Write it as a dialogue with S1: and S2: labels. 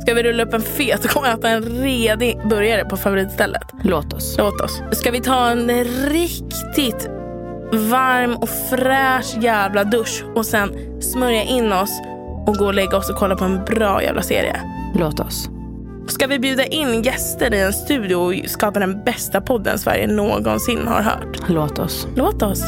S1: Ska vi rulla upp en fet och komma och äta en redig burgare på favoritstället?
S2: Låt oss.
S1: Låt oss. Ska vi ta en riktigt varm och fräsch jävla dusch och sen smörja in oss och gå och lägga oss och kolla på en bra jävla serie?
S2: Låt oss.
S1: Ska vi bjuda in gäster i en studio och skapa den bästa podden Sverige någonsin har hört?
S2: Låt oss.
S1: Låt oss.